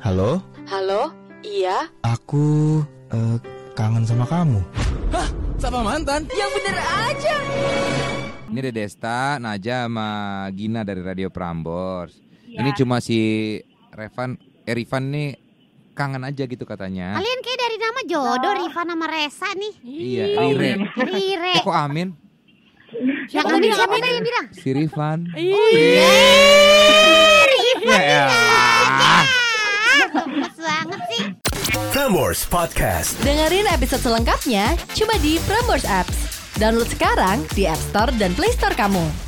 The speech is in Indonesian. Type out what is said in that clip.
Halo, Halo, iya, aku eh, kangen sama kamu. Sama mantan? yang bener aja. Ini ada Desta, Naja sama Gina dari Radio Prambors. Ini cuma si Revan, Erivan nih kangen aja gitu katanya. Kalian kayak dari nama jodoh Rifan sama Resa nih. Iya, Rire. Rire. Eh, kok Amin? Yang tadi siapa tadi yang bilang? Si Rifan. Iya. Ya elah. Pas banget sih. Prambors Podcast. Dengerin episode selengkapnya cuma di Prambors Apps. Download sekarang di App Store dan Play Store kamu.